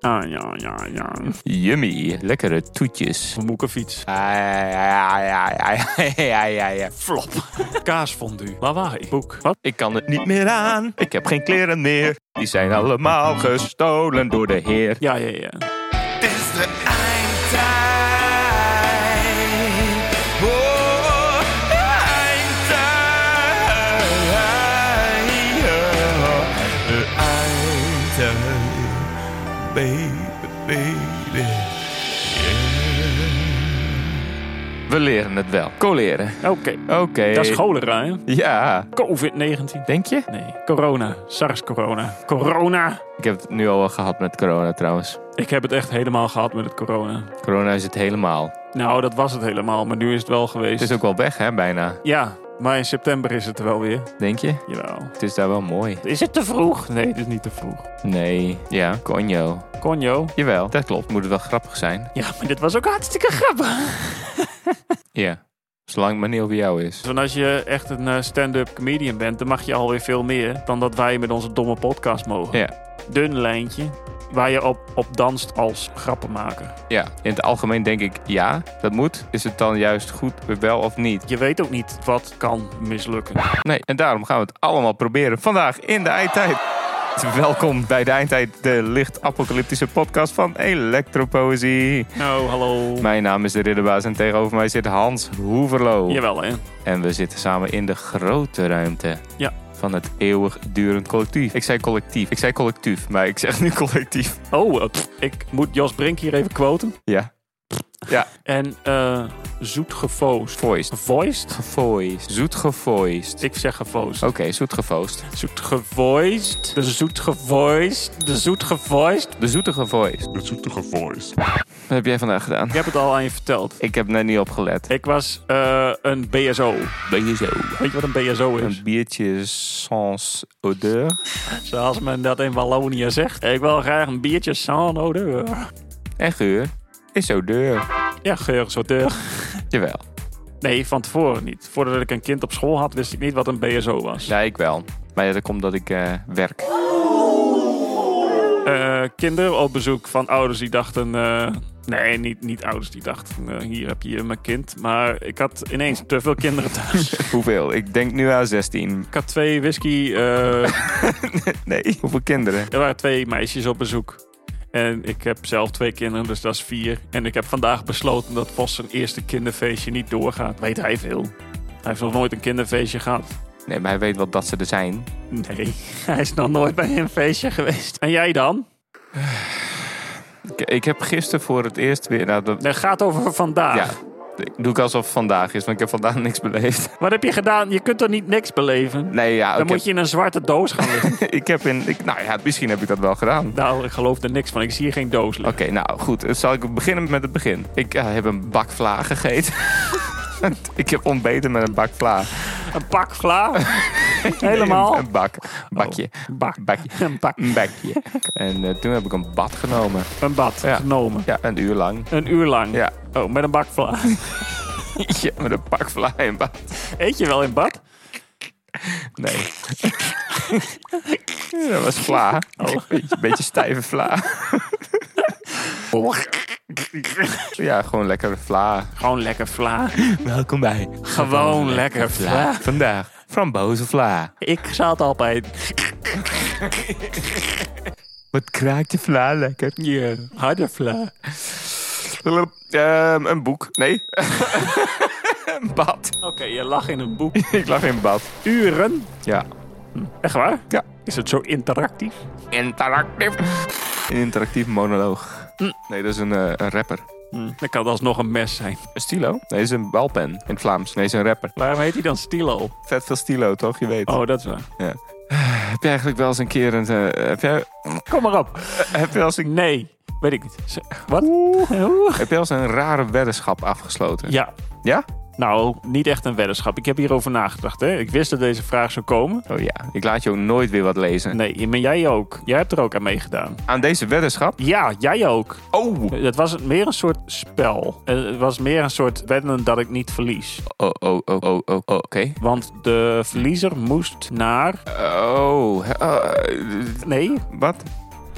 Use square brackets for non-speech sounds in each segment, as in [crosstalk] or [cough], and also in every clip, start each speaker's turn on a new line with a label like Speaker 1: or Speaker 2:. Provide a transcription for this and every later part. Speaker 1: Ah, ja, ja, ja.
Speaker 2: Yummy, lekkere toetjes.
Speaker 1: Moekenfiets.
Speaker 2: Ai, ai, ai, ai, ai, ai, ai, ai.
Speaker 1: Flop. Kaasfondue. Lawaai. Boek. Wat?
Speaker 2: Ik kan het niet meer aan, ik heb geen kleren meer. Die zijn allemaal gestolen door de heer.
Speaker 1: Ja, ja, ja.
Speaker 3: Het is de eindtijd. Oh, eindtijd. De eindtijd. Baby, baby.
Speaker 2: We leren het wel. Coleren.
Speaker 1: Oké.
Speaker 2: Oké.
Speaker 1: Dat is cholera, hè?
Speaker 2: Ja.
Speaker 1: COVID-19.
Speaker 2: Denk je?
Speaker 1: Nee, corona. SARS-corona. Corona.
Speaker 2: Ik heb het nu al wel gehad met corona trouwens.
Speaker 1: Ik heb het echt helemaal gehad met het corona.
Speaker 2: Corona is het helemaal.
Speaker 1: Nou, dat was het helemaal, maar nu is het wel
Speaker 2: Het
Speaker 1: geweest.
Speaker 2: is ook wel weg, hè, bijna.
Speaker 1: Ja, maar in september is het er wel weer.
Speaker 2: Denk je?
Speaker 1: Jawel.
Speaker 2: Het is daar wel mooi.
Speaker 1: Is het te vroeg? Nee, het is niet te vroeg.
Speaker 2: Nee. Ja, conjo.
Speaker 1: Conjo.
Speaker 2: Jawel, dat klopt. Moet het wel grappig zijn.
Speaker 1: Ja, maar dit was ook hartstikke grappig.
Speaker 2: Ja. Zolang het maar niet over jou is.
Speaker 1: Dus Want als je echt een eh, stand-up comedian bent, dan mag je alweer veel meer dan dat wij met onze domme podcast mogen.
Speaker 2: Ja.
Speaker 1: Dun lijntje waar je op, op danst als grappenmaker.
Speaker 2: Ja. In het algemeen denk ik, ja, dat moet. Is het dan juist goed, wel of niet?
Speaker 1: Je weet ook niet wat kan mislukken.
Speaker 2: Nee. En daarom gaan we het allemaal proberen vandaag in de eindtijd. Welkom bij de eindtijd, de licht apocalyptische podcast van Electropoëzie.
Speaker 1: Nou, hallo.
Speaker 2: Mijn naam is de Ridderbaas en tegenover mij zit Hans Hoeverlo.
Speaker 1: Jawel, hè?
Speaker 2: En we zitten samen in de grote ruimte.
Speaker 1: Ja.
Speaker 2: Van het eeuwigdurend collectief. Ik zei collectief. Ik zei collectief, maar ik zeg nu [laughs] collectief.
Speaker 1: Oh, eh, pff, ik moet Jos Brink hier even quoten.
Speaker 2: Ja. Ja,
Speaker 1: En eh zoet gefoosd.
Speaker 2: voiced.
Speaker 1: Gevoiced?
Speaker 2: Gevoiced. Zoet gevoiced.
Speaker 1: Ik zeg gefoosd.
Speaker 2: Oké, zoet gevoiced.
Speaker 1: Zoet gevoiced. De zoet gevoiced. De zoet gevoiced.
Speaker 2: De zoetige voice.
Speaker 3: De zoetige voice.
Speaker 2: Wat heb jij vandaag gedaan?
Speaker 1: Ik heb het al aan je verteld.
Speaker 2: Ik heb net niet opgelet.
Speaker 1: Ik was eh, een BSO.
Speaker 2: Ben je zo?
Speaker 1: Weet je wat een BSO is?
Speaker 2: Een biertje sans odeur.
Speaker 1: Zoals men dat in Wallonië zegt. Ik wil graag een biertje sans odeur.
Speaker 2: En geur is odeur.
Speaker 1: Ja, geur is odeur.
Speaker 2: Jawel.
Speaker 1: Nee, van tevoren niet. Voordat ik een kind op school had, wist ik niet wat een BSO was.
Speaker 2: Ja, ik wel. Maar ja, dat komt omdat ik eh, werk.
Speaker 1: Eh, kinderen op bezoek van ouders die dachten... eh, nee, niet, niet ouders die dachten, eh, hier heb je mijn kind. Maar ik had ineens te veel kinderen thuis.
Speaker 2: Hoeveel? Ik denk nu aan 16.
Speaker 1: ik had twee whisky... eh,
Speaker 2: Nee. Hoeveel kinderen?
Speaker 1: Er waren twee meisjes op bezoek. En ik heb zelf twee kinderen, dus dat is vier. En ik heb vandaag besloten dat Vos zijn eerste kinderfeestje niet doorgaat. Weet hij veel? Hij heeft nog nooit een kinderfeestje gehad.
Speaker 2: Nee, maar hij weet wel dat ze er zijn.
Speaker 1: Nee, [laughs] hij is nog nooit bij een feestje geweest. En jij dan?
Speaker 2: Ik, ik heb gisteren voor het eerst weer. Nou, dat,
Speaker 1: Dat gaat over vandaag.
Speaker 2: ja, ik doe ik alsof het vandaag is, want ik heb vandaag [laughs] niks beleefd.
Speaker 1: Wat heb je gedaan? Je kunt toch niet niks beleven?
Speaker 2: Nee, ja,
Speaker 1: Dan
Speaker 2: ik
Speaker 1: moet je in een zwarte doos gaan liggen.
Speaker 2: heb, [laughs] ik heb in. Ik, nou ja, misschien heb ik dat wel gedaan.
Speaker 1: nou, ik geloof er niks van. Ik zie hier geen doos liggen.
Speaker 2: Oké, nou goed. eh, Zal ik beginnen met het begin? Ik eh, heb een bak vla gegeten. [laughs] ik heb ontbeten met een bak vla.
Speaker 1: Een pak [laughs] vla. Helemaal.
Speaker 2: Een, een bak. Bakje.
Speaker 1: Bak.
Speaker 2: Bakje.
Speaker 1: Een bak.
Speaker 2: Een bakje. en eh, toen heb ik een bad genomen.
Speaker 1: Een bad
Speaker 2: Ja.
Speaker 1: genomen.
Speaker 2: Ja, een uur lang.
Speaker 1: Een uur lang.
Speaker 2: Ja,
Speaker 1: Oh, met een bak vla.
Speaker 2: ja met een bak vla en bad.
Speaker 1: Eet je wel in bad?
Speaker 2: Nee. [laughs] dat was vla.
Speaker 1: Oh.
Speaker 2: Een beetje, beetje stijve vla. Ja, gewoon lekker vla.
Speaker 1: Gewoon lekker vla.
Speaker 2: Welkom bij.
Speaker 1: Gewoon lekker vla.
Speaker 2: Vandaag frambozen vla.
Speaker 1: Ik zat altijd.
Speaker 2: Wat kraakt je vla lekker.
Speaker 1: Je harde vla.
Speaker 2: Ehm, een boek. Nee. [laughs] een bad.
Speaker 1: Oké, je lag in een boek.
Speaker 2: [laughs] Ik lag in bad.
Speaker 1: Uren.
Speaker 2: Ja.
Speaker 1: Echt waar?
Speaker 2: Ja.
Speaker 1: Is het zo interactief?
Speaker 2: Interactief. Een interactief monoloog. Nee, dat is een, eh, een rapper.
Speaker 1: Dat kan alsnog een mes zijn.
Speaker 2: Een stilo? Nee, dat is een balpen. In het Vlaams. Nee, dat is een rapper.
Speaker 1: Waarom heet hij dan Stilo?
Speaker 2: Vet veel stilo, toch? Je weet.
Speaker 1: Oh, dat is waar.
Speaker 2: Heb je eigenlijk wel eens een keer een... eh, heb, jij,
Speaker 1: Kom maar op.
Speaker 2: [laughs] heb, je wel eens een
Speaker 1: Nee, weet ik niet. Z- Wat? Oeh.
Speaker 2: heb je wel eens een rare weddenschap afgesloten?
Speaker 1: Ja.
Speaker 2: Ja?
Speaker 1: Nou, niet echt een weddenschap. Ik heb hierover nagedacht. Hè. Ik wist dat deze vraag zou komen.
Speaker 2: Oh ja. Ik laat jou nooit weer wat lezen.
Speaker 1: Nee, maar jij ook. Jij hebt er ook aan meegedaan.
Speaker 2: Aan deze weddenschap?
Speaker 1: Ja, jij ook.
Speaker 2: Oh!
Speaker 1: Het was meer een soort spel. Het was meer een soort wedden dat ik niet verlies.
Speaker 2: Oh, oh, oh, oh, oh, oké.
Speaker 1: Want de verliezer moest naar.
Speaker 2: Oh, eh, eh,
Speaker 1: Nee,
Speaker 2: wat?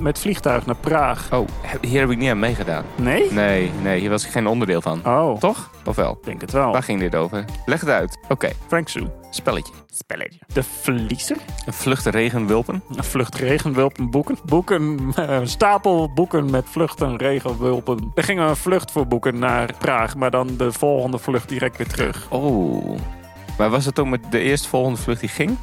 Speaker 1: met vliegtuig naar Praag.
Speaker 2: Oh, hier heb ik niet aan meegedaan.
Speaker 1: Nee?
Speaker 2: Nee, nee, hier was ik geen onderdeel van.
Speaker 1: Oh,
Speaker 2: Toch? Of wel?
Speaker 1: ik denk het wel.
Speaker 2: Waar ging dit over? Leg het uit. Oké,
Speaker 1: Frank Soe.
Speaker 2: spelletje.
Speaker 1: Spelletje. De verliezer.
Speaker 2: Een vluchten regenwulpen.
Speaker 1: Een Vlucht regenwulpen boeken. Boeken. eh, stapel boeken met vluchten regenwulpen. Er gingen we een vlucht voor boeken naar Praag. Maar dan de volgende vlucht direct weer terug.
Speaker 2: Oh. Maar was het ook met de eerstvolgende vlucht die ging?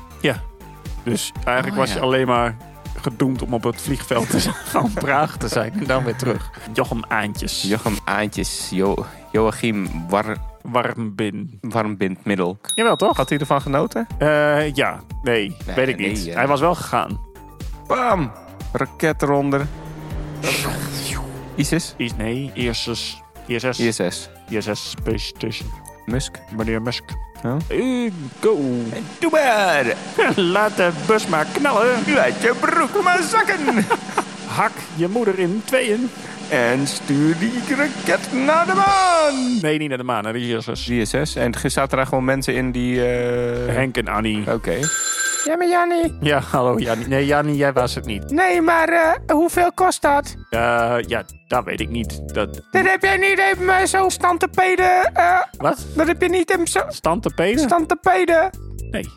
Speaker 1: Dus eigenlijk
Speaker 2: Oh,
Speaker 1: was je
Speaker 2: ja.
Speaker 1: alleen maar gedoemd om op het vliegveld [laughs] te zijn, van Praag te zijn. En dan weer terug. Jochem Aantjes.
Speaker 2: Jochem Aantjes, jo Joachim War
Speaker 1: Warmbin.
Speaker 2: Warmbindmiddel.
Speaker 1: Jawel toch?
Speaker 2: Had hij ervan genoten?
Speaker 1: Eh, ja. Nee,
Speaker 2: Nee,
Speaker 1: weet ik
Speaker 2: nee, eh.
Speaker 1: niet.
Speaker 2: ja.
Speaker 1: Hij was wel gegaan.
Speaker 2: Bam! Raket [laughs] eronder. ISIS?
Speaker 1: Is, nee, ISS. ISS.
Speaker 2: ISS.
Speaker 1: ISS Space Station.
Speaker 2: Musk.
Speaker 1: Meneer Musk.
Speaker 2: Ja.
Speaker 1: Eh, Go. [laughs]
Speaker 2: Doe maar!
Speaker 1: Laat de bus maar knallen.
Speaker 2: Laat je broek maar zakken!
Speaker 1: Hak je moeder in tweeën.
Speaker 2: en stuur die raket naar de maan!
Speaker 1: Nee, niet naar de maan, naar de ISS.
Speaker 2: ISS. En ge- zaten daar gewoon mensen in die... eh,
Speaker 1: Henk en Annie.
Speaker 2: Oké. Ja, maar Jannie.
Speaker 1: Ja, hallo Jannie. Nee, Jannie, jij was het niet.
Speaker 2: Nee, maar eh, hoeveel kost dat?
Speaker 1: Eh, ja, dat weet ik niet. Dat...
Speaker 2: Dat heb jij niet even zo stand te peden.
Speaker 1: Wat?
Speaker 2: dat eh, heb je niet even zo
Speaker 1: Stand te peden?
Speaker 2: stand te peden.
Speaker 1: Nee,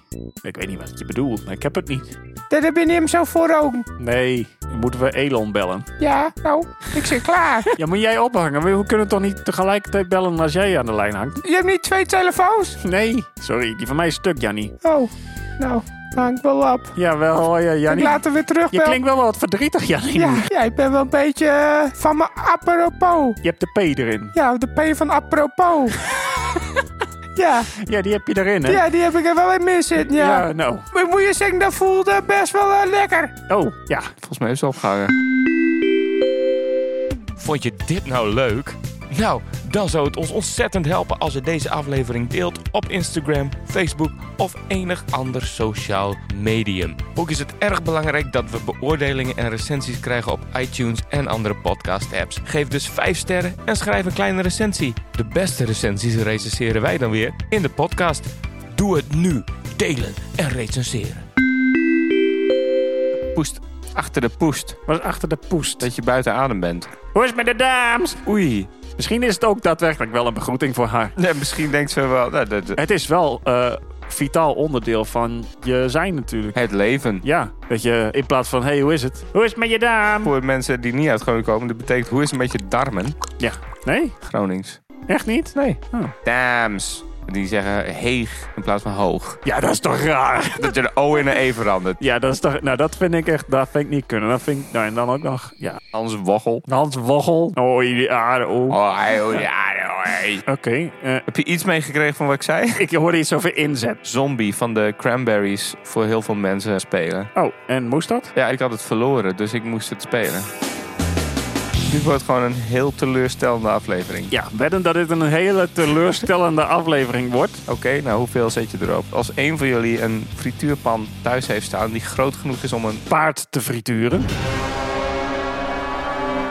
Speaker 1: ik weet niet wat je bedoelt, maar ik heb het niet.
Speaker 2: Dat heb je niet zo voor ook.
Speaker 1: Nee, moeten we Elon bellen.
Speaker 2: Ja, nou, ik zit klaar. [laughs]
Speaker 1: Ja, moet jij ophangen? We we kunnen toch niet tegelijkertijd bellen als jij aan de lijn hangt?
Speaker 2: je hebt niet twee telefoons?
Speaker 1: Nee, sorry, die van mij is stuk, Jannie.
Speaker 2: Oh, nou, hang wel op.
Speaker 1: Jawel, ja,
Speaker 2: Ik
Speaker 1: Jannie.
Speaker 2: laat hem weer
Speaker 1: Je
Speaker 2: terugbellen.
Speaker 1: klinkt wel wat verdrietig, Jannie.
Speaker 2: Ja, ja, ik ben wel een beetje eh, van mijn apropos.
Speaker 1: Je hebt de P erin.
Speaker 2: Ja, de P van apropos. ja,
Speaker 1: Ja, die heb je erin, hè?
Speaker 2: ja, die heb ik er wel in mis zitten, ja.
Speaker 1: Ja, nou.
Speaker 2: Maar moet je zeggen, dat voelde best wel eh, lekker.
Speaker 1: Oh, ja.
Speaker 2: Volgens mij is ze opgehangen.
Speaker 4: Vond je dit nou leuk? Nou, dan zou het ons ontzettend helpen als je deze aflevering deelt op Instagram, Facebook of enig ander sociaal medium. Ook is het erg belangrijk dat we beoordelingen en recensies krijgen op iTunes en andere podcast-apps. Geef dus 5 sterren en schrijf een kleine recensie. De beste recensies recenseren wij dan weer in de podcast. Doe het nu. Delen en recenseren.
Speaker 2: Poest. Achter de poest.
Speaker 1: Was achter de poest.
Speaker 2: Dat je buiten adem bent.
Speaker 1: Hoe is het met de dames?
Speaker 2: Oei.
Speaker 1: Misschien is het ook daadwerkelijk wel een begroeting voor haar.
Speaker 2: Nee, misschien denkt ze wel... nou, dat- dat-
Speaker 1: Het is wel eh, vitaal onderdeel van je zijn natuurlijk.
Speaker 2: het leven.
Speaker 1: Ja, dat je in plaats van, hey, hoe is het? Hoe is het met je dame?
Speaker 2: Voor mensen die niet uit Groningen komen, dat betekent hoe is het met je darmen?
Speaker 1: Ja. Nee?
Speaker 2: Gronings.
Speaker 1: Echt niet?
Speaker 2: Nee.
Speaker 1: Oh.
Speaker 2: Dams. Die zeggen heeg in plaats van hoog.
Speaker 1: Ja, dat is toch raar?
Speaker 2: Dat je de O in een E verandert.
Speaker 1: Ja, dat is toch... Nou, dat vind ik echt... Dat vind ik niet kunnen. Dat vind ik... Nou, en dan ook nog... Ja.
Speaker 2: Hans Woggel.
Speaker 1: Hans Woggel. Oh, ja, oh. Oké.
Speaker 2: Oh, hij, oh, ja, oh, hij.
Speaker 1: eh,
Speaker 2: Heb je iets meegekregen van wat ik zei?
Speaker 1: ik hoorde iets over inzet.
Speaker 2: Zombie van de Cranberries voor heel veel mensen spelen.
Speaker 1: Oh, en moest dat?
Speaker 2: Ja, ik had het verloren, dus ik moest het spelen. Dit wordt gewoon een heel teleurstellende aflevering.
Speaker 1: Ja, wedden dat dit een hele teleurstellende [laughs] aflevering wordt.
Speaker 2: Oké, nou hoeveel zet je erop? Als één van jullie een frituurpan thuis heeft staan die groot genoeg is om een...
Speaker 1: Paard te frituren.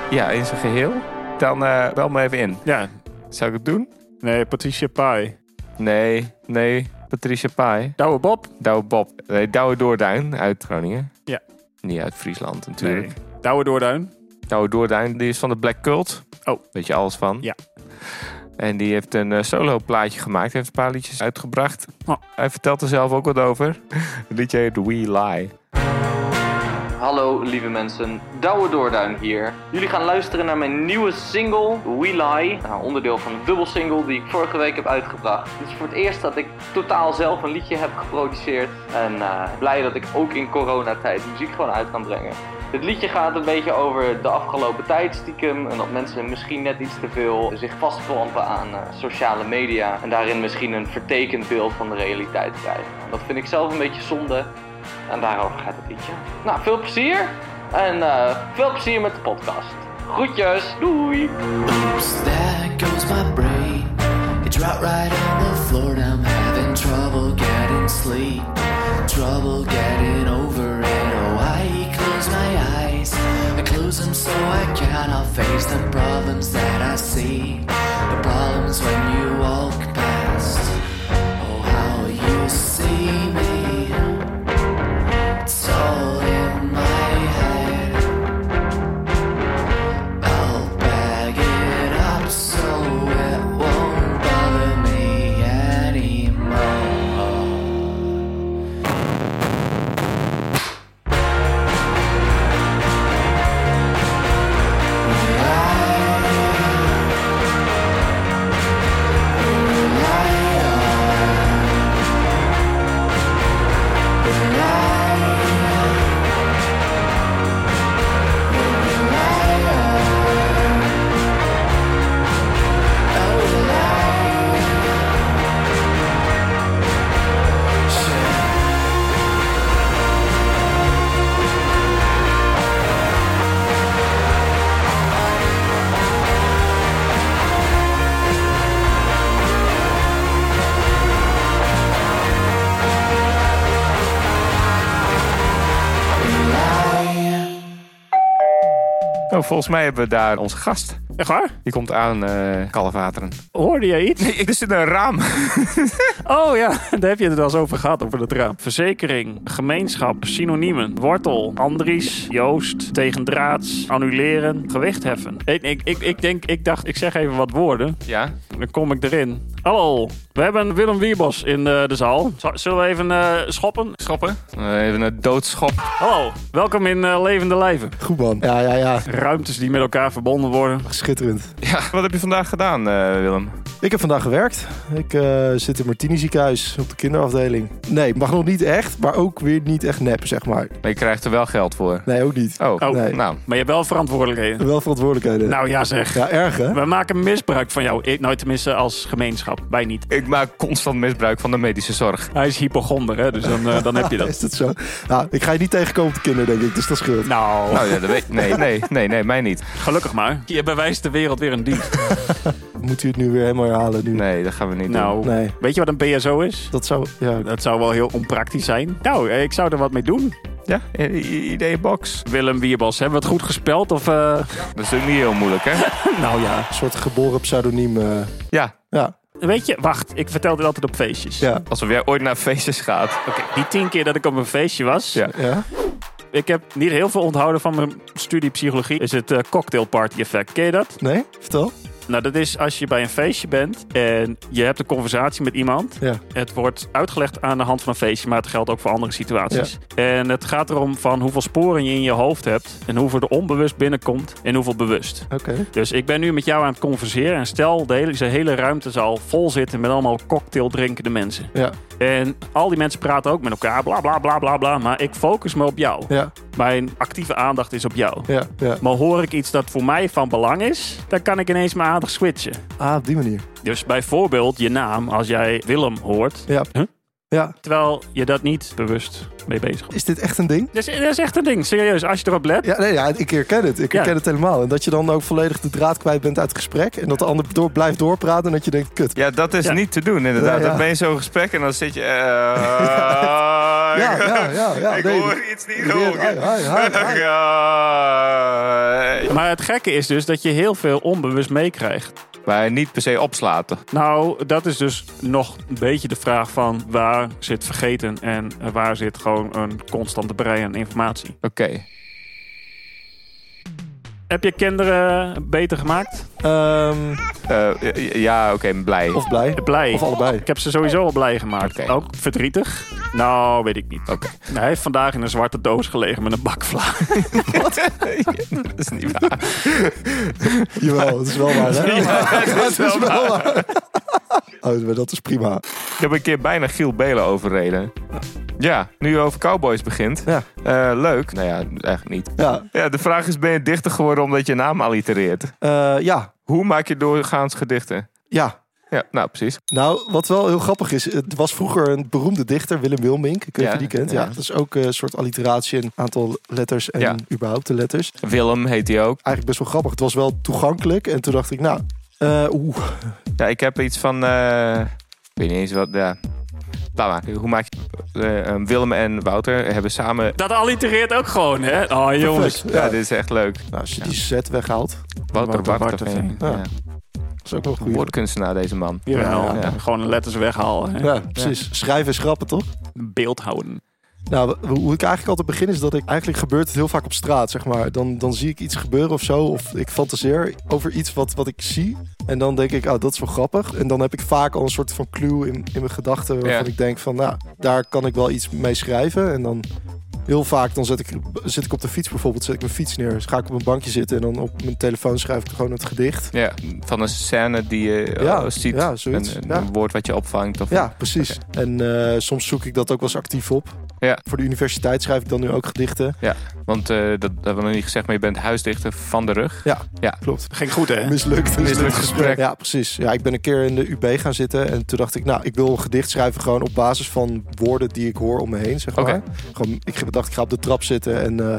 Speaker 2: Ja, in zijn geheel. Dan eh bel me even in.
Speaker 1: Ja.
Speaker 2: Zou ik het doen?
Speaker 1: Nee, Patricia Pai.
Speaker 2: Nee, nee. Patricia Pai.
Speaker 1: Douwe Bob.
Speaker 2: Douwe Bob. Nee, Douwe Doorduin uit Groningen.
Speaker 1: Ja.
Speaker 2: Niet uit Friesland natuurlijk.
Speaker 1: Nee. Douwe Doorduin.
Speaker 2: Douwe Doorduin, die is van de Black Cult.
Speaker 1: Oh.
Speaker 2: Weet je alles van?
Speaker 1: Ja.
Speaker 2: En die heeft een eh, solo plaatje gemaakt. Heeft een paar liedjes uitgebracht.
Speaker 1: Oh.
Speaker 2: Hij vertelt er zelf ook wat over. [laughs] Het liedje heet We Lie.
Speaker 5: Hallo lieve mensen, Douwe Doorduin hier. Jullie gaan luisteren naar mijn nieuwe single, We Lie. Nou, onderdeel van de dubbelsingle die ik vorige week heb uitgebracht. Het is voor het eerst dat ik totaal zelf een liedje heb geproduceerd. En eh, blij dat ik ook in coronatijd muziek gewoon uit kan brengen. Dit liedje gaat een beetje over de afgelopen tijd stiekem. En dat mensen misschien net iets te veel zich vastklampen aan eh, sociale media. En daarin misschien een vertekend beeld van de realiteit krijgen. En dat vind ik zelf een beetje zonde. En daarover gaat het liedje. Nou, veel plezier. En eh, veel plezier met de podcast. Groetjes. Doei.
Speaker 6: Oops, there goes my brain. It dropped right on the floor. and I'm having trouble getting sleep. Trouble getting over it. Oh, I close my eyes. I close them so I cannot face the problems that I see. The problems when you walk past. Oh, how you see me. It's all in my head.
Speaker 2: Nou, volgens mij hebben we daar onze gast.
Speaker 1: Echt waar?
Speaker 2: Die komt aan, eh Kalfateren.
Speaker 1: Hoorde je iets?
Speaker 2: Er zit een raam.
Speaker 1: Oh ja, [laughs] daar heb je het wel eens over gehad, over dat raam. Verzekering, gemeenschap, synoniemen, wortel, Andries, Joost, tegendraads, annuleren, gewicht heffen. Ik, ik, ik, ik denk, ik dacht, ik zeg even wat woorden.
Speaker 2: Ja.
Speaker 1: Dan kom ik erin. Hallo, we hebben Willem Wiebos in eh, de zaal. Z- Zullen we even eh, schoppen?
Speaker 2: Schoppen. Eh, Even een doodschop.
Speaker 1: Hallo, welkom in eh, Levende Lijven.
Speaker 7: Goed man. Ja, ja, ja.
Speaker 1: Ruimtes die met elkaar verbonden worden.
Speaker 7: Schitterend.
Speaker 2: [laughs] Wat heb je vandaag gedaan, eh, Willem?
Speaker 7: Ik heb vandaag gewerkt. Ik eh, zit in Martini ziekenhuis op de kinderafdeling. Nee, mag nog niet echt, maar ook weer niet echt nep, zeg maar.
Speaker 2: Maar je krijgt er wel geld voor.
Speaker 7: Nee, ook niet.
Speaker 2: Oh,
Speaker 1: Oh.
Speaker 7: Nee.
Speaker 2: nou.
Speaker 1: Maar je hebt wel verantwoordelijkheden.
Speaker 7: Wel verantwoordelijkheden.
Speaker 1: Nou ja zeg.
Speaker 7: Ja, erg hè?
Speaker 1: We maken misbruik van jou. Ik, nou, tenminste als gemeenschap. Wij niet.
Speaker 2: Ik maak constant misbruik van de medische zorg.
Speaker 1: Hij is hypochonder, hè? dus dan, eh, dan heb je dat.
Speaker 7: Is dat zo? Nou, ik ga je niet tegenkomen te kinderen, denk ik, dus dat scheelt.
Speaker 1: Nou,
Speaker 2: Oh ja, dat [laughs] weet Nee, nee, nee, nee, mij niet.
Speaker 1: gelukkig maar. Je bewijst de wereld weer een dienst.
Speaker 7: Moet u het nu weer helemaal herhalen? Nu?
Speaker 2: Nee, dat gaan we niet doen.
Speaker 1: [laughs] Nou,
Speaker 7: Nee.
Speaker 1: weet je wat een BSO is?
Speaker 7: Dat zou... Ja,
Speaker 1: Dat zou wel heel onpraktisch zijn. Nou, eh, ik zou er wat mee doen.
Speaker 2: Ja, i- i- ideebox.
Speaker 1: Willem Wierbos, hebben we het goed gespeld? Of, eh,
Speaker 2: Dat is ook niet heel moeilijk, hè?
Speaker 1: [laughs]
Speaker 2: [laughs]
Speaker 1: Nou ja.
Speaker 7: een soort geboren pseudoniem. eh.
Speaker 2: Ja,
Speaker 7: ja,
Speaker 1: Weet je, wacht. Ik vertel dit altijd op feestjes.
Speaker 7: ja,
Speaker 2: alsof jij ooit naar feestjes gaat.
Speaker 1: Oké, die tien keer dat ik op een feestje was.
Speaker 2: Ja.
Speaker 7: ja.
Speaker 1: Ik heb niet heel veel onthouden van mijn studie psychologie. Is het eh, cocktail party effect. Ken je dat?
Speaker 7: Nee? Vertel.
Speaker 1: Nou, dat is als je bij een feestje bent en je hebt een conversatie met iemand.
Speaker 7: Ja.
Speaker 1: Het wordt uitgelegd aan de hand van een feestje, maar het geldt ook voor andere situaties. En het gaat erom van hoeveel sporen je in je hoofd hebt en hoeveel er onbewust binnenkomt en hoeveel bewust.
Speaker 7: Oké.
Speaker 1: Dus ik ben nu met jou aan het converseren en stel de hele, deze hele ruimte zal vol zitten met allemaal cocktail drinkende mensen.
Speaker 7: Ja,
Speaker 1: En al die mensen praten ook met elkaar, bla bla bla bla bla, maar ik focus me op jou.
Speaker 7: ja,
Speaker 1: Mijn actieve aandacht is op jou.
Speaker 7: ja, ja.
Speaker 1: Maar hoor ik iets dat voor mij van belang is, dan kan ik ineens mijn aandacht switchen.
Speaker 7: Ah, op die manier.
Speaker 1: Dus bijvoorbeeld je naam, als jij Willem hoort,
Speaker 7: Ja.
Speaker 1: Huh?
Speaker 7: Ja.
Speaker 1: terwijl je dat niet bewust mee bezig bent.
Speaker 7: Is dit echt een ding?
Speaker 1: Dat is, dat is echt een ding, serieus. Als je erop let,
Speaker 7: Ja, nee, ja, ik herken het. Ik herken
Speaker 1: Ja.
Speaker 7: het helemaal. En dat je dan ook volledig de draad kwijt bent uit het gesprek. En dat de ander door, blijft doorpraten en dat je denkt, kut.
Speaker 2: Ja, dat is
Speaker 1: Ja.
Speaker 2: niet te doen, inderdaad.
Speaker 7: Ja, ja.
Speaker 2: Dan ben je zo'n gesprek en dan zit
Speaker 7: [laughs]
Speaker 2: je... eh,
Speaker 7: Ja,
Speaker 2: [laughs]
Speaker 7: ja, ja. ja
Speaker 2: ik
Speaker 7: nee, ah,
Speaker 2: hoor iets niet
Speaker 7: nee,
Speaker 2: roken.
Speaker 7: hi, hi, hi, hi.
Speaker 2: [laughs] Ja.
Speaker 1: maar het gekke is dus dat je heel veel onbewust meekrijgt.
Speaker 2: Maar niet per se opslaten.
Speaker 1: Nou, dat is dus nog een beetje de vraag van waar zit vergeten en eh, waar zit gewoon een constante brei aan informatie.
Speaker 2: Oké.
Speaker 1: Heb je kinderen beter gemaakt?
Speaker 7: Ehm,
Speaker 2: Eh, ja, ja, oké, blij. [laughs]
Speaker 7: of blij.
Speaker 1: Blij.
Speaker 7: Of allebei.
Speaker 1: Ik heb ze sowieso al blij gemaakt.
Speaker 2: Oké.
Speaker 1: Ook verdrietig? Nou, weet ik niet.
Speaker 2: Oké.
Speaker 1: Hij heeft vandaag in een zwarte doos gelegen met een bak vla. [laughs]
Speaker 2: dat is niet waar.
Speaker 7: Jawel, het is wel waar, hè? het is wel waar. Oh, maar dat is prima.
Speaker 2: Ik heb een keer bijna Giel Belen overreden. Ja, nu je over cowboys begint.
Speaker 7: Ja.
Speaker 2: Eh, leuk. Nou ja, eigenlijk niet.
Speaker 7: Ja,
Speaker 2: Ja, de vraag is, ben je dichter geworden omdat je naam allitereert?
Speaker 7: eh, ja,
Speaker 2: Hoe maak je doorgaans gedichten?
Speaker 7: ja.
Speaker 2: Ja, nou precies.
Speaker 7: Nou, wat wel heel grappig is, het was vroeger een beroemde dichter, Willem Wilmink. Ik weet niet
Speaker 2: Ja,
Speaker 7: of je die kent.
Speaker 2: ja.
Speaker 7: Ja, dat is ook eh, een soort alliteratie, een aantal letters en
Speaker 2: Ja.
Speaker 7: überhaupt de letters.
Speaker 2: Willem heet hij ook.
Speaker 7: Eigenlijk best wel grappig. Het was wel toegankelijk en toen dacht ik, nou, eh, oeh,
Speaker 2: Ja, ik heb iets van... eh, ik weet niet eens wat... Ja. Laat maar. Hoe maak je... eh, eh, Willem en Wouter hebben samen...
Speaker 1: Dat allitereert ook gewoon, hè? Oh, jongens.
Speaker 7: perfect.
Speaker 2: Ja,
Speaker 7: Ja.
Speaker 2: dit is echt leuk.
Speaker 7: Nou, als je die zet weghaalt,
Speaker 2: Wouter
Speaker 1: Wouter
Speaker 2: Barteveen.
Speaker 1: Barteveen.
Speaker 2: Ja.
Speaker 7: Ja. is ook wel een goede.
Speaker 2: Woordkunstenaar deze man.
Speaker 1: Jawel.
Speaker 2: Ja, ja.
Speaker 1: Gewoon letters weghalen. Hè?
Speaker 7: Ja, precies. Schrijven is grappen, toch?
Speaker 1: Beeld houden.
Speaker 7: Nou, w- hoe ik eigenlijk altijd begin is dat ik... Eigenlijk gebeurt het heel vaak op straat, zeg maar. Dan, dan zie ik iets gebeuren of zo. Of ik fantaseer over iets wat, wat ik zie. En dan denk ik, ah, dat is wel grappig. En dan heb ik vaak al een soort van clue in, in mijn gedachten. Waarvan
Speaker 2: Ja.
Speaker 7: ik denk van, nou, daar kan ik wel iets mee schrijven. En dan heel vaak, dan zet ik, zit ik op de fiets bijvoorbeeld. Zet ik mijn fiets neer. Dus ga ik op een bankje zitten. En dan op mijn telefoon schrijf ik gewoon het gedicht.
Speaker 2: Ja, van een scène die je eh,
Speaker 7: Ja,
Speaker 2: ziet.
Speaker 7: ja, zoiets.
Speaker 2: Een, een
Speaker 7: Ja.
Speaker 2: woord wat je opvangt. Of
Speaker 7: Ja, precies. En eh, soms zoek ik dat ook wel eens actief op.
Speaker 2: Ja.
Speaker 7: Voor de universiteit schrijf ik dan nu ook gedichten.
Speaker 2: Want eh, dat dat hebben we nog niet gezegd, maar je bent huisdichter van de rug.
Speaker 7: Ja,
Speaker 2: Ja.
Speaker 7: klopt.
Speaker 1: Ging goed, hè?
Speaker 7: [laughs] Mislukt,
Speaker 2: Mislukt gesprek.
Speaker 7: Ja, precies. Ja, ik ben een keer in de UB gaan zitten en toen dacht ik, nou, ik wil een gedicht schrijven gewoon op basis van woorden die ik hoor om me heen, zeg maar.
Speaker 2: Oké.
Speaker 7: Gewoon, ik dacht, ik ga op de trap zitten en eh,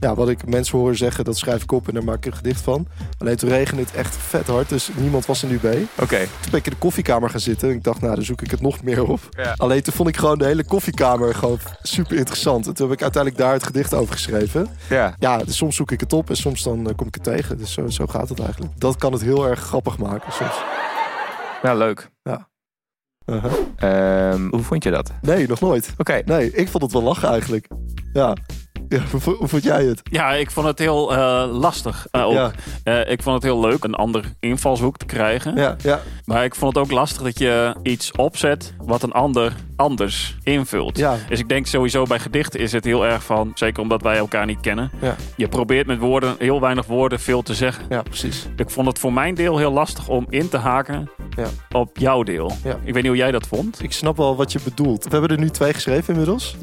Speaker 7: ja, wat ik mensen hoor zeggen, dat schrijf ik op en daar maak ik een gedicht van. Alleen toen regende het echt vet hard, dus niemand was er nu bij.
Speaker 2: Oké.
Speaker 7: Toen ben ik in de koffiekamer gaan zitten en ik dacht, nou, dan zoek ik het nog meer op.
Speaker 2: Ja.
Speaker 7: Alleen toen vond ik gewoon de hele koffiekamer gewoon super interessant. En toen heb ik uiteindelijk daar het gedicht over geschreven.
Speaker 2: Ja.
Speaker 7: Ja, dus soms zoek ik het op en soms dan eh, kom ik het tegen. Dus zo, zo gaat het eigenlijk. Dat kan het heel erg grappig maken soms.
Speaker 2: Nou, leuk.
Speaker 7: Uh-huh.
Speaker 2: Ehm, hoe vond je dat? Oké.
Speaker 7: Nee, nog nooit. Nee, ik vond het wel lachen eigenlijk. Ja. ja hoe vo- hoe vond jij het?
Speaker 1: [laughs] Ja, ik vond het heel eh, lastig eh, ook.
Speaker 7: Ja.
Speaker 1: Eh, ik vond het heel leuk een ander invalshoek te krijgen.
Speaker 7: Ja, ja,
Speaker 1: Maar ik vond het ook lastig dat je iets opzet wat een ander anders invult.
Speaker 7: Ja.
Speaker 1: Dus ik denk sowieso bij gedichten is het heel erg van, zeker omdat wij elkaar niet kennen.
Speaker 7: Ja.
Speaker 1: Je probeert met woorden, heel weinig woorden, veel te zeggen.
Speaker 7: ja, precies.
Speaker 1: Ik vond het voor mijn deel heel lastig om in te haken
Speaker 7: Ja.
Speaker 1: op jouw deel.
Speaker 7: Ja.
Speaker 1: Ik weet niet hoe jij dat vond.
Speaker 7: Ik snap wel wat je bedoelt. We hebben er nu twee geschreven inmiddels.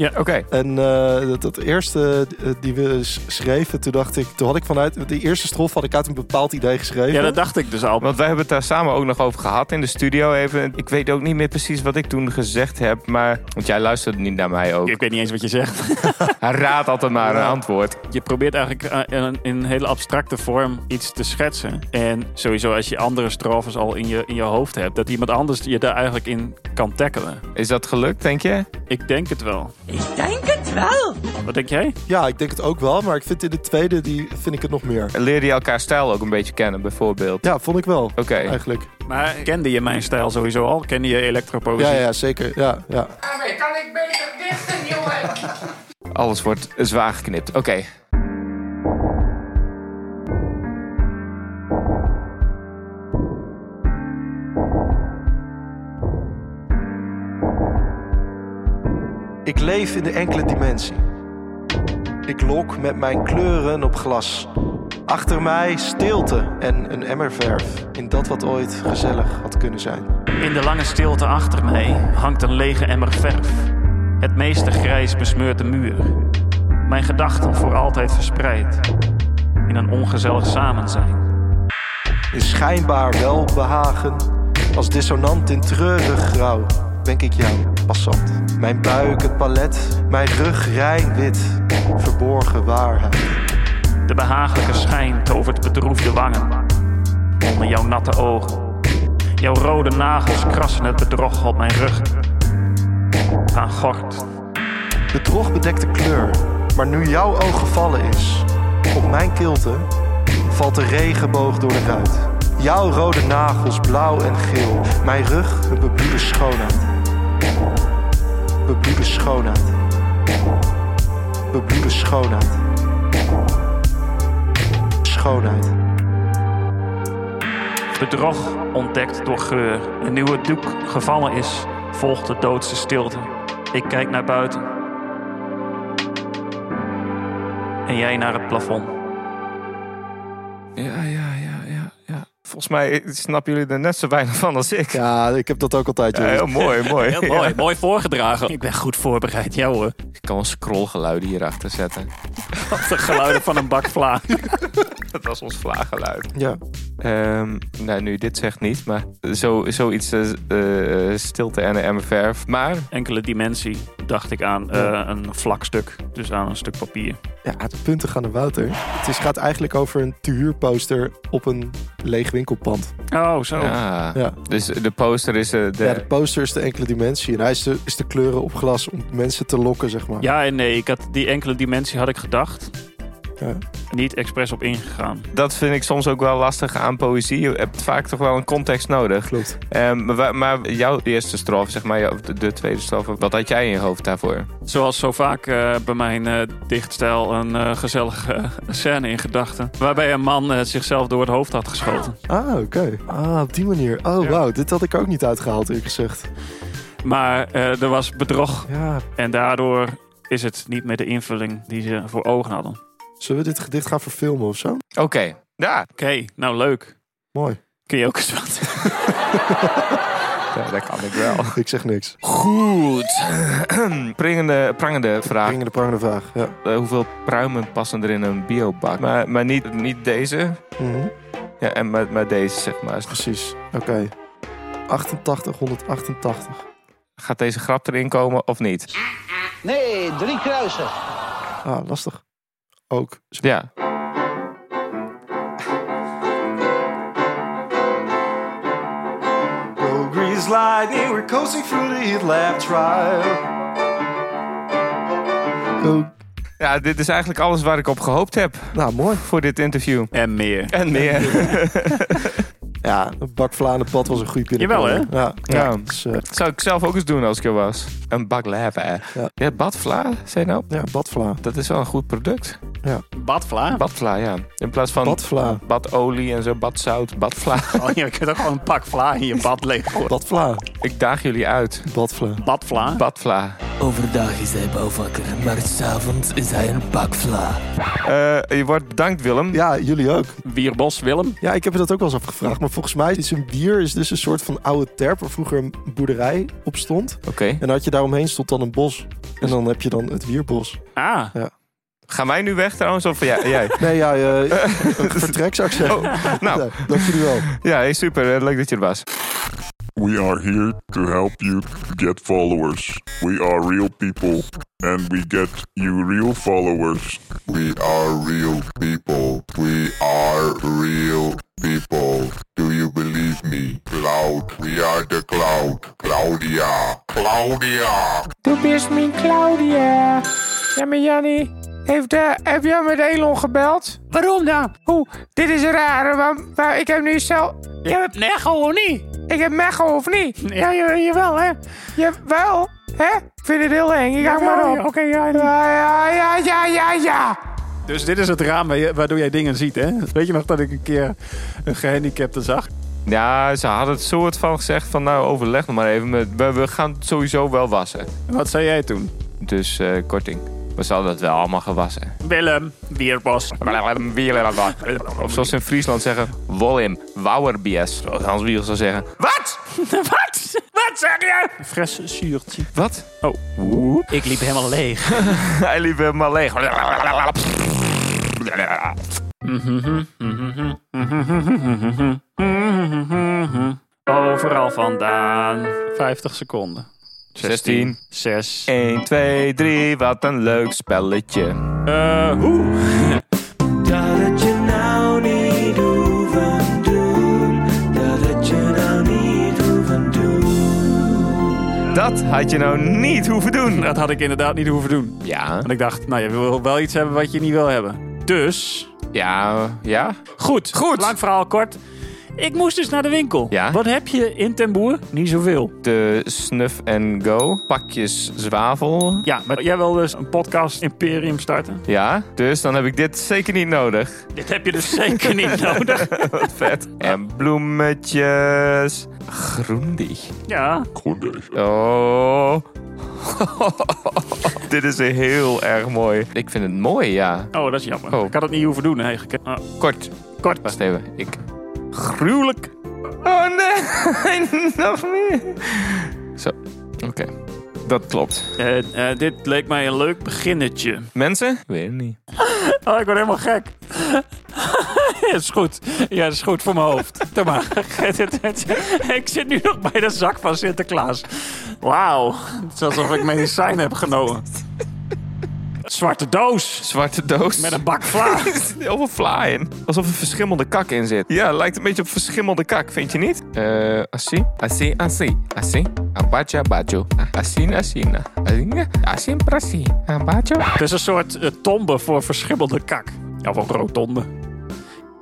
Speaker 7: En eh, dat, dat eerste eh, die we s- schreven, toen dacht ik, toen had ik vanuit de eerste strof had ik uit een bepaald idee geschreven.
Speaker 1: Ja, dat dacht ik dus al.
Speaker 2: Want wij hebben het daar samen ook nog over gehad in de studio even. Ik weet ook niet meer precies wat ik toen gezegd heb, maar... Want jij luisterde niet naar mij ook.
Speaker 1: Ik weet niet eens wat je zegt.
Speaker 2: Hij raadt altijd maar een antwoord.
Speaker 1: Je probeert eigenlijk eh, in een, in een hele abstracte vorm iets te schetsen. En sowieso als je andere strofes al in je, in je hoofd hebt, dat iemand anders je daar eigenlijk in kan tackelen.
Speaker 2: Is dat gelukt, denk je?
Speaker 1: Ik denk het wel.
Speaker 8: Ich denke zwölf.
Speaker 1: Wat denk jij?
Speaker 7: Ja, ik denk het ook wel, maar ik vind in de tweede die vind ik het nog meer.
Speaker 2: Leerde je elkaar stijl ook een beetje kennen, bijvoorbeeld?
Speaker 7: Ja, vond ik wel.
Speaker 2: Oké.
Speaker 7: Eigenlijk.
Speaker 1: Maar kende je mijn stijl sowieso al? Kende je elektropoëzie?
Speaker 7: Ja, ja, zeker. Ja, ja.
Speaker 2: Alles wordt zwaar geknipt. Oké.
Speaker 9: Ik leef in de enkele dimensie. Ik lok met mijn kleuren op glas. Achter mij stilte en een emmer verf in dat wat ooit gezellig had kunnen zijn.
Speaker 1: In de lange stilte achter mij hangt een lege emmer verf. Het meeste grijs besmeurt de muur. Mijn gedachten voor altijd verspreid. In een ongezellig samen zijn.
Speaker 9: In schijnbaar welbehagen, als dissonant in treurig grauw, denk ik jou, passant. Mijn buik het palet, mijn rug rein wit, verborgen waarheid.
Speaker 1: De behagelijke schijn tovert bedroefde wangen. Onder jouw natte ogen. Jouw rode nagels krassen het bedrog op mijn rug. Aan gort.
Speaker 9: Bedrog bedekte kleur, maar nu jouw oog gevallen is, op mijn kilte valt de regenboog door de ruit. Jouw rode nagels blauw en geel, mijn rug een bebloede schoonheid. Bebloede schoonheid. Bebloede schoonheid. Schoonheid.
Speaker 1: Bedrog ontdekt door geur. En nu het doek gevallen is, volgt de doodse stilte. Ik kijk naar buiten. En jij naar het plafond.
Speaker 2: Ja, ja, ja, ja, ja. Volgens mij snappen jullie er net zo weinig van als ik.
Speaker 7: ja, ik heb dat ook altijd.
Speaker 2: Ja,
Speaker 7: jongens.
Speaker 2: [laughs] heel mooi, mooi.
Speaker 1: Heel mooi,
Speaker 2: Ja.
Speaker 1: mooi voorgedragen. Ik ben goed voorbereid, ja hoor.
Speaker 2: Ik kan wel scrollgeluiden hierachter zetten.
Speaker 1: De geluiden van een bak vla.
Speaker 2: Dat was ons vlaaggeluid.
Speaker 7: Ja.
Speaker 2: Ehm, nou, nu dit zegt niet, maar zo, zoiets eh, eh, stilte en een emmer verf. Maar
Speaker 1: Enkele dimensie dacht ik aan eh, een vlak stuk. Dus aan een stuk papier.
Speaker 7: Ja, het punten gaan naar Wouter. Het is, gaat eigenlijk over een tehuurposter op een leeg winkelpand.
Speaker 1: Oh, zo.
Speaker 2: Ja.
Speaker 7: Ja.
Speaker 2: Dus de poster is eh, de...
Speaker 7: Ja, de poster is de enkele dimensie. En hij is de, is de kleuren op glas om mensen te lokken, zeg maar.
Speaker 1: Ja en nee, ik had die enkele dimensie had ik gedacht.
Speaker 7: Ja.
Speaker 1: Niet expres op ingegaan.
Speaker 2: Dat vind ik soms ook wel lastig aan poëzie. Je hebt vaak toch wel een context nodig.
Speaker 7: Klopt.
Speaker 2: Ehm, maar, wa- maar jouw eerste strofe, zeg maar, jouw- de- de tweede strofe, wat had jij in je hoofd daarvoor?
Speaker 1: Zoals zo vaak eh, bij mijn eh, dichtstijl een eh, gezellige [laughs] eh, scène in gedachten. Waarbij een man eh, zichzelf door het hoofd had geschoten.
Speaker 7: Ah, oké. Ah, op die manier. Oh, wauw. Dit had ik ook niet uitgehaald, eerlijk gezegd.
Speaker 1: Maar eh, er was bedrog.
Speaker 7: Ja.
Speaker 1: En daardoor is het niet meer de invulling die ze voor ogen hadden. Oké,
Speaker 7: Zullen we dit gedicht gaan verfilmen of zo?
Speaker 2: Oké, ja.
Speaker 1: nou leuk.
Speaker 7: Mooi.
Speaker 1: Kun je ook eens wat?
Speaker 2: ja, dat kan ik wel.
Speaker 7: Ik zeg niks.
Speaker 2: Goed. [clears throat] Prangende, prangende vraag.
Speaker 7: Ringen de prangende vraag. Ja.
Speaker 2: Eh, hoeveel pruimen passen er in een biobak? Maar, maar niet, niet deze.
Speaker 7: Mhm,
Speaker 2: Ja, en maar, maar deze, zeg maar. Dus
Speaker 7: Precies. Oké. 88, 188.
Speaker 2: Gaat deze grap erin komen of niet?
Speaker 10: Nee, drie kruisen.
Speaker 7: Ah, lastig. ook.
Speaker 2: Ja.
Speaker 9: Road grease lightning, we're coasting through the heat lab trial.
Speaker 7: Ook.
Speaker 2: ja, dit is eigenlijk alles waar ik op gehoopt heb
Speaker 7: Nou, mooi.
Speaker 2: voor dit interview.
Speaker 1: En meer.
Speaker 2: En meer.
Speaker 7: Ja, een bak vla in het pad was een goede binnenkomen.
Speaker 1: Jawel,
Speaker 7: Ja.
Speaker 2: Ja.
Speaker 7: Dus, eh,
Speaker 2: Dat zou ik zelf ook eens doen als ik er was. Een bak lapen.
Speaker 7: Ja.
Speaker 2: Ja. badvla, zei je nou?
Speaker 7: ja, badvla.
Speaker 2: Dat is wel een goed product.
Speaker 1: Badvla.
Speaker 2: Badvla, ja. In plaats van
Speaker 7: Badvla.
Speaker 2: badolie en zo, badzout, badvla. [laughs]
Speaker 1: Oh, je kunt ook gewoon een pak vla in je bad leggen.
Speaker 7: Oh.
Speaker 1: hoor.
Speaker 7: Badvla.
Speaker 2: ik daag jullie uit.
Speaker 7: Badvla.
Speaker 1: Badvla.
Speaker 2: Badvla.
Speaker 6: Overdag is hij bouwvakker, maar s'avonds is hij een bakvla.
Speaker 2: Eh, je wordt bedankt, Willem.
Speaker 7: Ja, jullie ook.
Speaker 1: Wierbos Willem.
Speaker 7: Ja, ik heb me dat ook wel eens afgevraagd. Maar volgens mij is een bier is dus een soort van oude terp waar vroeger een boerderij op stond.
Speaker 2: Oké.
Speaker 7: En had je daaromheen stond dan een bos. En dan heb je dan het wierbos.
Speaker 1: Ah,
Speaker 2: Gaan wij nu weg trouwens? Of ja, [laughs] jij?
Speaker 7: Nee, ja, [laughs] eh, een vertrek zou ik zeggen.
Speaker 2: nou.
Speaker 7: Ja, dank jullie wel.
Speaker 2: Ja, hey, super. Eh, Leuk dat je er was.
Speaker 3: We are here to help you get followers. We are real people and we get you real followers. We are real people. We are real people. Do you believe me? Cloud. We are the cloud. Claudia. Claudia.
Speaker 2: Doe is mijn Claudia. Ja, maar Jannie, heeft, eh, heb jij met Elon gebeld?
Speaker 1: waarom dan?
Speaker 2: Oeh, dit is raar, want maar ik heb nu zelf... Ik heb,
Speaker 1: Nee, gewoon niet.
Speaker 2: ik heb Mechel, of niet?
Speaker 1: Nee.
Speaker 2: Ja, je, jawel, hè? Jawel, hè? Ik vind het heel eng, ik hang maar op.
Speaker 1: ja, oké, ja, ja.
Speaker 2: ja, ja, ja, ja, ja.
Speaker 1: Dus dit is het raam waar je- waardoor jij dingen ziet, hè? Weet je nog dat ik een keer een gehandicapte zag?
Speaker 2: Ja, ze hadden het soort van gezegd van, nou, overleg nog maar even. met- We, we gaan het sowieso wel wassen.
Speaker 1: Wat zei jij toen?
Speaker 2: Dus eh, korting. We hadden het wel allemaal gewassen.
Speaker 1: Willem, Wierbos.
Speaker 2: Of zoals ze in Friesland zeggen, Wolim, Wouwerbies. Zoals Hans Wiegel zou zeggen. Wat?
Speaker 1: Wat? Wat zeg je? Fres zuurtje.
Speaker 2: Wat?
Speaker 1: Ik liep helemaal leeg. [laughs]
Speaker 2: Hij liep helemaal leeg.
Speaker 1: Overal vandaan. 50 seconden.
Speaker 2: 16.
Speaker 1: 6.
Speaker 2: 1, 2, 3, wat een leuk spelletje.
Speaker 1: Eh, hoe?
Speaker 6: Dat het je nou niet hoeven doen, dat het je nou niet hoeven doen.
Speaker 2: Dat had je nou niet hoeven doen.
Speaker 1: Dat had ik inderdaad niet hoeven doen.
Speaker 2: Ja,
Speaker 1: Want ik dacht, nou, je wil wel iets hebben wat je niet wil hebben. Dus...
Speaker 2: ja, ja.
Speaker 1: Goed.
Speaker 2: Goed.
Speaker 1: Lang verhaal kort. Ik moest dus naar de winkel.
Speaker 2: Ja.
Speaker 1: Wat heb je in Ten Boer? Niet zoveel.
Speaker 2: De snuff and go. Pakjes zwavel.
Speaker 1: Ja, maar jij wil dus een podcast imperium starten?
Speaker 2: Ja, dus dan heb ik dit zeker niet nodig.
Speaker 1: Dit heb je dus zeker niet [laughs] nodig.
Speaker 2: Wat vet. En bloemetjes. Groendie.
Speaker 1: Ja.
Speaker 2: Oh. [laughs] Dit is heel erg mooi. Ik vind het mooi, ja.
Speaker 1: Oh, dat is jammer.
Speaker 2: Oh.
Speaker 1: Ik had het niet hoeven doen eigenlijk. Ah,
Speaker 2: Kort.
Speaker 1: kort.
Speaker 2: Wacht even, ik. Gruwelijk. Oh nee, [laughs] nog meer. Zo, oké. Dat klopt.
Speaker 1: Eh, eh, dit leek mij een leuk beginnetje.
Speaker 2: Mensen? Weet het niet.
Speaker 1: Oh, ik word helemaal gek. [laughs] Ja, is goed. Ja, dat is goed voor mijn hoofd. Doe maar. [laughs] ik zit nu nog bij de zak van Sinterklaas. Wauw. Het is alsof ik medicijn heb genomen. Zwarte doos.
Speaker 2: Zwarte doos.
Speaker 1: Met een bak vla.
Speaker 2: Er zit heel veel vla in. Alsof er verschimmelde kak in zit. Ja, lijkt een beetje op verschimmelde kak, vind je niet? Eh, assi, assi, assi, assi. Abacha, bacho. Assina, assina. Assina, assin, prassi. Abacho.
Speaker 1: Het is een soort eh, tombe voor verschimmelde kak. Ja, of een rotonde.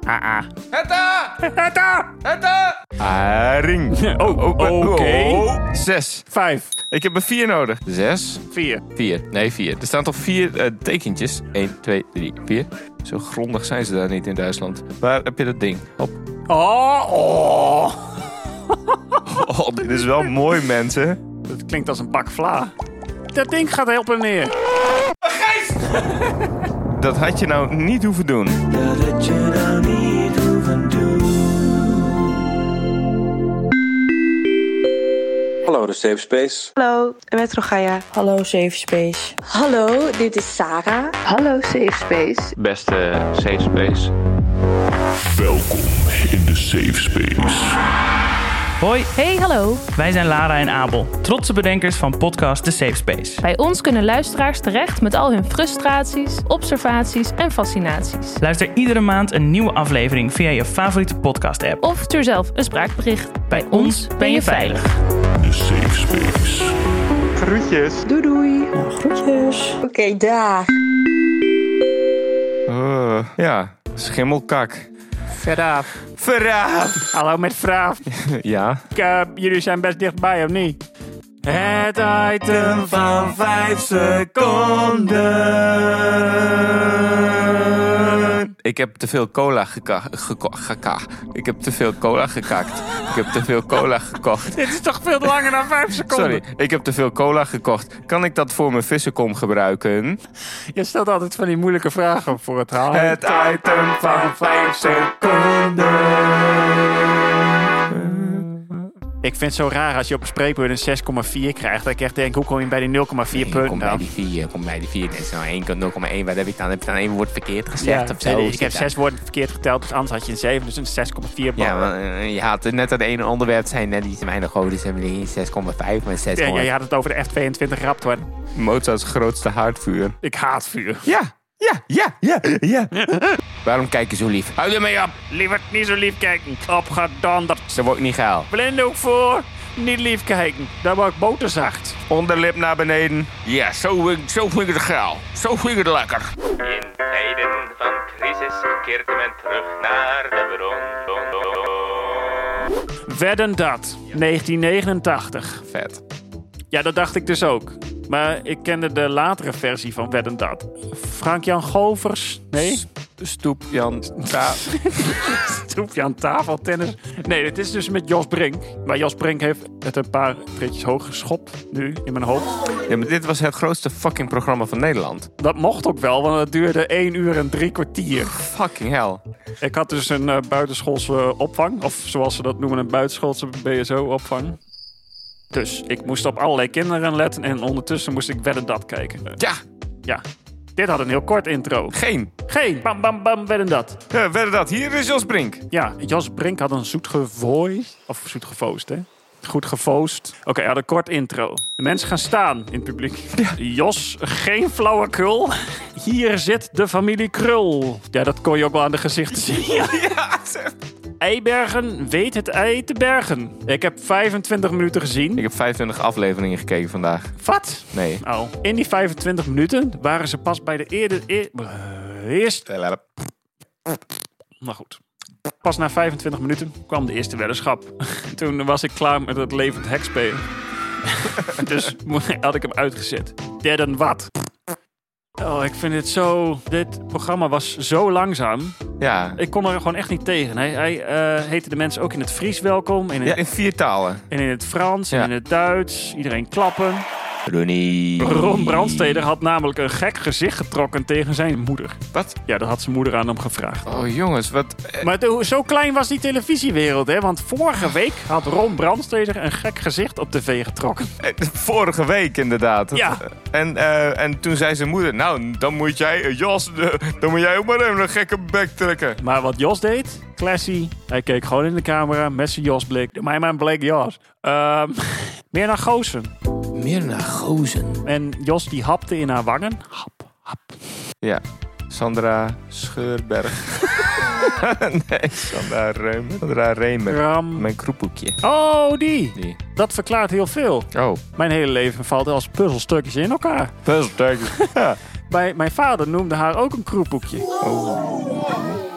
Speaker 1: Ah, ah.
Speaker 2: Heta!
Speaker 1: Heta!
Speaker 2: Heta! Haring. [laughs]
Speaker 1: Oh, oké.
Speaker 2: oh. Zes.
Speaker 1: Vijf,
Speaker 2: Ik heb er vier nodig. Zes.
Speaker 1: vier.
Speaker 2: Vier. Nee, vier. Er staan toch vier eh, tekentjes? 1, 2, 3, 4. Zo grondig zijn ze daar niet in Duitsland. Waar heb je dat ding? Hop.
Speaker 1: Oh, oh.
Speaker 2: Oh, dit is [laughs] wel mooi, mensen.
Speaker 1: Dat klinkt als een bak vla. Dat ding gaat helpen neer.
Speaker 2: Dat had je nou niet hoeven doen.
Speaker 6: Dat het je nou niet hoeven doen.
Speaker 8: Hallo, met Rogaya. Hallo, Safe Space. Hallo, dit is Sarah. Hallo, Safe Space.
Speaker 4: Beste safe space.
Speaker 3: Welkom in de safe space.
Speaker 10: Hoi,
Speaker 11: Hey, hallo.
Speaker 10: wij zijn Lara en Abel, trotse bedenkers van podcast The Safe Space.
Speaker 11: Bij ons kunnen luisteraars terecht met al hun frustraties, observaties en fascinaties.
Speaker 10: Luister iedere maand een nieuwe aflevering via je favoriete podcast-app.
Speaker 11: Of stuur zelf een spraakbericht.
Speaker 10: Bij ons ben je veilig.
Speaker 3: The safe space.
Speaker 9: Groetjes.
Speaker 8: Doei doei. Nou, groetjes. Oké, daar.
Speaker 2: Eh, ja, schimmelkak.
Speaker 1: Verraaf.
Speaker 2: Verraaf!
Speaker 1: Hallo met Vraaf.
Speaker 2: Ja.
Speaker 1: Ik, eh, jullie zijn best dichtbij, of niet? Het item van 5 seconden.
Speaker 2: Ik heb te veel cola geka- geko- geka. Ik heb te veel cola gekakt. Ik heb te veel cola gekocht.
Speaker 1: Dit is toch veel langer dan 5 seconden?
Speaker 2: Sorry, ik heb te veel cola gekocht. Kan ik dat voor mijn vissenkom gebruiken?
Speaker 1: Je stelt altijd van die moeilijke vragen voor het halen.
Speaker 2: Het item van 5 seconden.
Speaker 1: Ik vind het zo raar als je op een spreekbeurt een 6,4 krijgt. Dat ik echt denk, hoe kom je bij die 0,4 punten
Speaker 2: Kom bij
Speaker 1: dan?
Speaker 2: die 4, kom bij die 4. Dat is nou 1, 0,1. Wat heb ik dan? Heb ik dan één woord verkeerd
Speaker 1: Ja,
Speaker 2: gezegd of
Speaker 1: nee,
Speaker 2: zo?
Speaker 1: ik heb zes woorden verkeerd geteld, dus anders had je een 7, dus een 6,4 ballen.
Speaker 2: Ja, want, eh, je had net dat ene onderwerp zijn net iets te weinig goden. Dus hebben die 6,5, maar 6,
Speaker 1: Ja, ja, je had het over de F22 Raptor.
Speaker 2: Mozart's grootste haardvuur.
Speaker 1: Ik haat vuur.
Speaker 2: Ja, ja, ja, ja,
Speaker 1: [laughs]
Speaker 2: ja. Waarom kijk je zo lief? Hou ermee op.
Speaker 1: Liever niet zo lief kijken. Opgedonderd.
Speaker 2: Ze wordt niet gehaald.
Speaker 1: Blinddoek voor. Niet lief kijken. Dan word ik boterzacht.
Speaker 2: Onderlip naar beneden. Ja, zo, eh, zo vind ik het geil. Zo vind ik het lekker.
Speaker 12: In tijden van crisis keert men terug naar de bron. bron, bron, bron.
Speaker 1: Wedden dat. 1989.
Speaker 2: Vet.
Speaker 1: Ja, dat dacht ik dus ook. Maar ik kende de latere versie van Wedden dat. Frank-Jan Govers. Nee? [laughs]
Speaker 2: Stoep, Jan.
Speaker 1: troepje aan tafel tennis. Nee, dit is dus met Jos Brink. Maar Jos Brink heeft het een paar treetjes hoog geschopt nu in mijn hoofd.
Speaker 2: Ja, maar dit was het grootste fucking programma van Nederland.
Speaker 1: Dat mocht ook wel, want het duurde 1 uur en drie kwartier.
Speaker 2: Fucking hell.
Speaker 1: Ik had dus een eh, buitenschoolse opvang. Of zoals ze dat noemen, een buitenschoolse BSO-opvang. Dus ik moest op allerlei kinderen letten en ondertussen moest ik wedden dat kijken. Eh,
Speaker 2: Ja,
Speaker 1: ja, dit had een heel kort intro.
Speaker 2: geen.
Speaker 1: Geen bam bam bam wedden dat.
Speaker 2: Ja, werden dat. Hier is Jos Brink.
Speaker 1: Ja, Jos Brink had een zoet gevooi. Of zoet gevoost, hè? Goed gevoost. Oké, hij had een kort intro. De mensen gaan staan in het publiek. Jos, geen flauwekul. Hier zit de familie Krul. Ja, dat kon je ook wel aan de gezichten zien. [laughs] Ja. Eibergen weet het ei te bergen. Ik heb 25 minuten gezien.
Speaker 2: Ik heb 25 afleveringen gekeken vandaag.
Speaker 1: Wat?
Speaker 2: Nee.
Speaker 1: Oh. In die 25 minuten waren ze pas bij de eerder... eer- eh, eerste... Maar Nou goed. Pas na 25 minuten kwam de eerste weddenschap. [laughs] Toen was ik klaar met het levend hekspelen. [laughs] dus mo- had ik hem uitgezet. Dead en wat? Oh, ik vind het zo... Dit programma was zo langzaam.
Speaker 2: Ja.
Speaker 1: Ik kon er gewoon echt niet tegen. Hij, hij eh, heette de mensen ook in het Fries welkom. En in,
Speaker 2: ja. In vier talen.
Speaker 1: en in het Frans
Speaker 2: Ja.
Speaker 1: en in het Duits. Iedereen klappen.
Speaker 2: Ronnie.
Speaker 1: Ron Brandsteder had namelijk een gek gezicht getrokken tegen zijn moeder.
Speaker 2: Wat?
Speaker 1: Ja, dat had zijn moeder aan hem gevraagd.
Speaker 2: Oh jongens, wat... eh,
Speaker 1: Maar de- zo klein was die televisiewereld, hè? Want vorige week had Ron Brandsteder een gek gezicht op tv getrokken.
Speaker 2: eh, Vorige week inderdaad. Dat-
Speaker 1: Ja.
Speaker 2: En, eh, en toen zei zijn moeder, nou, dan moet jij, eh, Jos, eh, dan moet jij ook maar even een gekke bek trekken.
Speaker 1: Maar wat Jos deed, classy. Hij keek gewoon in de camera met zijn Jos-blik. Doe mij maar een blik Jos. Ehm, [laughs] meer naar Goosen.
Speaker 2: Mirna Gozen.
Speaker 1: En Jos die hapte in haar wangen. Hap, hap.
Speaker 2: Ja. Sandra Scheurberg. [laughs] nee, Sandra Reumer. Sandra Reumer.
Speaker 1: Ram.
Speaker 2: Mijn kroepoekje.
Speaker 1: Oh, die.
Speaker 2: Die.
Speaker 1: Dat verklaart heel veel.
Speaker 2: Oh.
Speaker 1: Mijn hele leven valt als puzzelstukjes in elkaar.
Speaker 2: Puzzle Ja.
Speaker 1: Bij mijn vader noemde haar ook een kroepboekje.
Speaker 2: [laughs]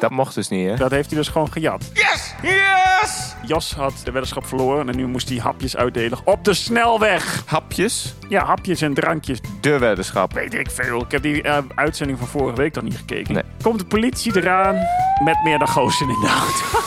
Speaker 2: Dat mocht dus niet, hè?
Speaker 1: Dat heeft hij dus gewoon gejat.
Speaker 2: Yes! Yes!
Speaker 1: Jos had de weddenschap verloren en nu moest hij hapjes uitdelen op de snelweg.
Speaker 2: Hapjes.
Speaker 1: Ja, hapjes en drankjes.
Speaker 2: De weddenschap.
Speaker 1: Weet ik veel. Ik heb die eh, uitzending van vorige week nog niet gekeken.
Speaker 2: Nee.
Speaker 1: Komt de politie eraan met meer dan gozen in de auto.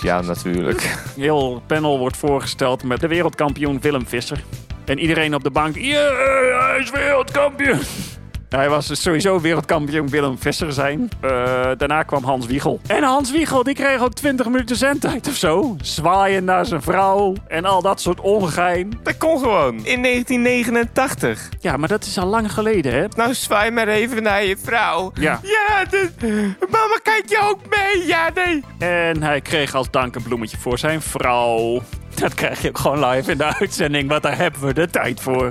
Speaker 2: Ja, natuurlijk.
Speaker 1: Heel panel wordt voorgesteld met de wereldkampioen Willem Visser. En iedereen op de bank. Yeah, hij is wereldkampioen. [laughs] Hij was dus sowieso wereldkampioen Willem Visser zijn. Eh, daarna kwam Hans Wiegel. En Hans Wiegel, die kreeg ook 20 minuten zendtijd of zo. Zwaaien naar zijn vrouw en al dat soort ongein.
Speaker 2: Dat kon gewoon. In 1989.
Speaker 1: Ja, maar dat is al lang geleden, hè?
Speaker 2: Nou, zwaai maar even naar je vrouw.
Speaker 1: Ja.
Speaker 2: Ja, dit- mama, kijk je ook mee? Ja, nee.
Speaker 1: En hij kreeg als dank een bloemetje voor zijn vrouw. Dat krijg je ook gewoon live in de uitzending, want daar hebben we de tijd voor.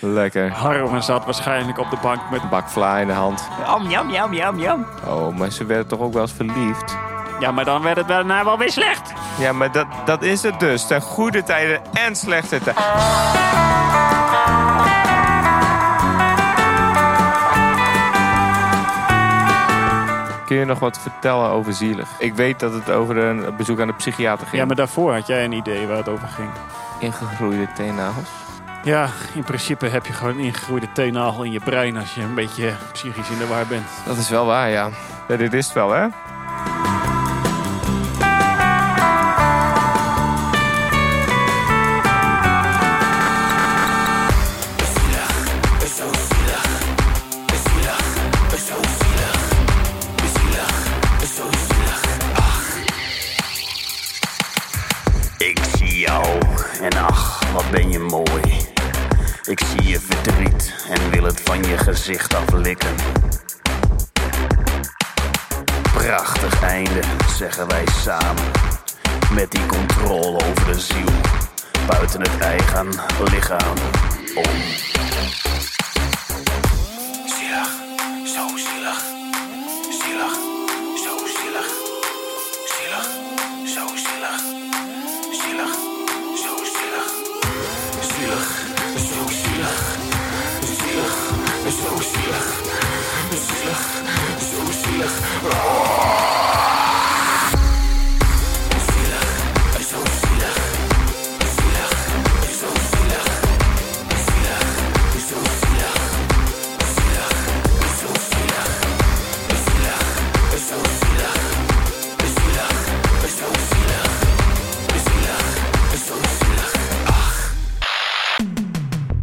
Speaker 2: Lekker.
Speaker 1: Harmen zat waarschijnlijk op de bank met...
Speaker 2: Bakvla in de hand.
Speaker 1: Am, jam, jam, jam, jam.
Speaker 2: Oh, maar ze werden toch ook wel eens verliefd?
Speaker 1: Ja, maar dan werd het daarna wel weer slecht.
Speaker 2: Ja, maar dat, dat is het dus. Ten goede tijden en slechte tijden. Kun je nog wat vertellen over zielig? Ik weet dat het over een bezoek aan de psychiater ging.
Speaker 1: Ja, maar daarvoor had jij een idee waar het over ging.
Speaker 2: Ingegroeide teennagels.
Speaker 1: Ja, in principe heb je gewoon ingegroeide teennagel in je brein als je een beetje psychisch in de war bent.
Speaker 2: Dat is wel waar, ja. ja dit is het wel, hè?
Speaker 13: Ik zie jou en ach, wat ben je mooi. Ik zie je verdriet en wil het van je gezicht aflikken. Prachtig einde, zeggen wij samen. Met die controle over de ziel, buiten het eigen lichaam om. Zielig, zo zielig. Zielig, zo zielig. Zielig, zo zielig. Zielig, zo zielig. Zielig, zo zielig. Zielig, zo zielig. Zielig, zo zielig.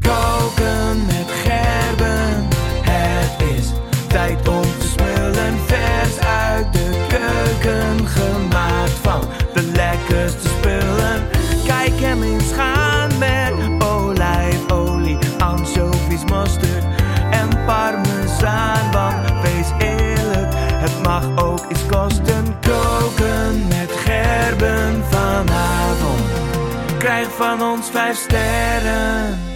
Speaker 14: Koken met Gerben. Het is tijd om te smullen. Vers uit de keuken. Gemaakt van de lekkerste spullen. Kijk hem eens gaan met olijfolie, anchovies, mosterd en parmezaan. Want wees eerlijk, het mag ook iets kosten. Koken met Gerben vanavond. Krijg van ons vijf sterren.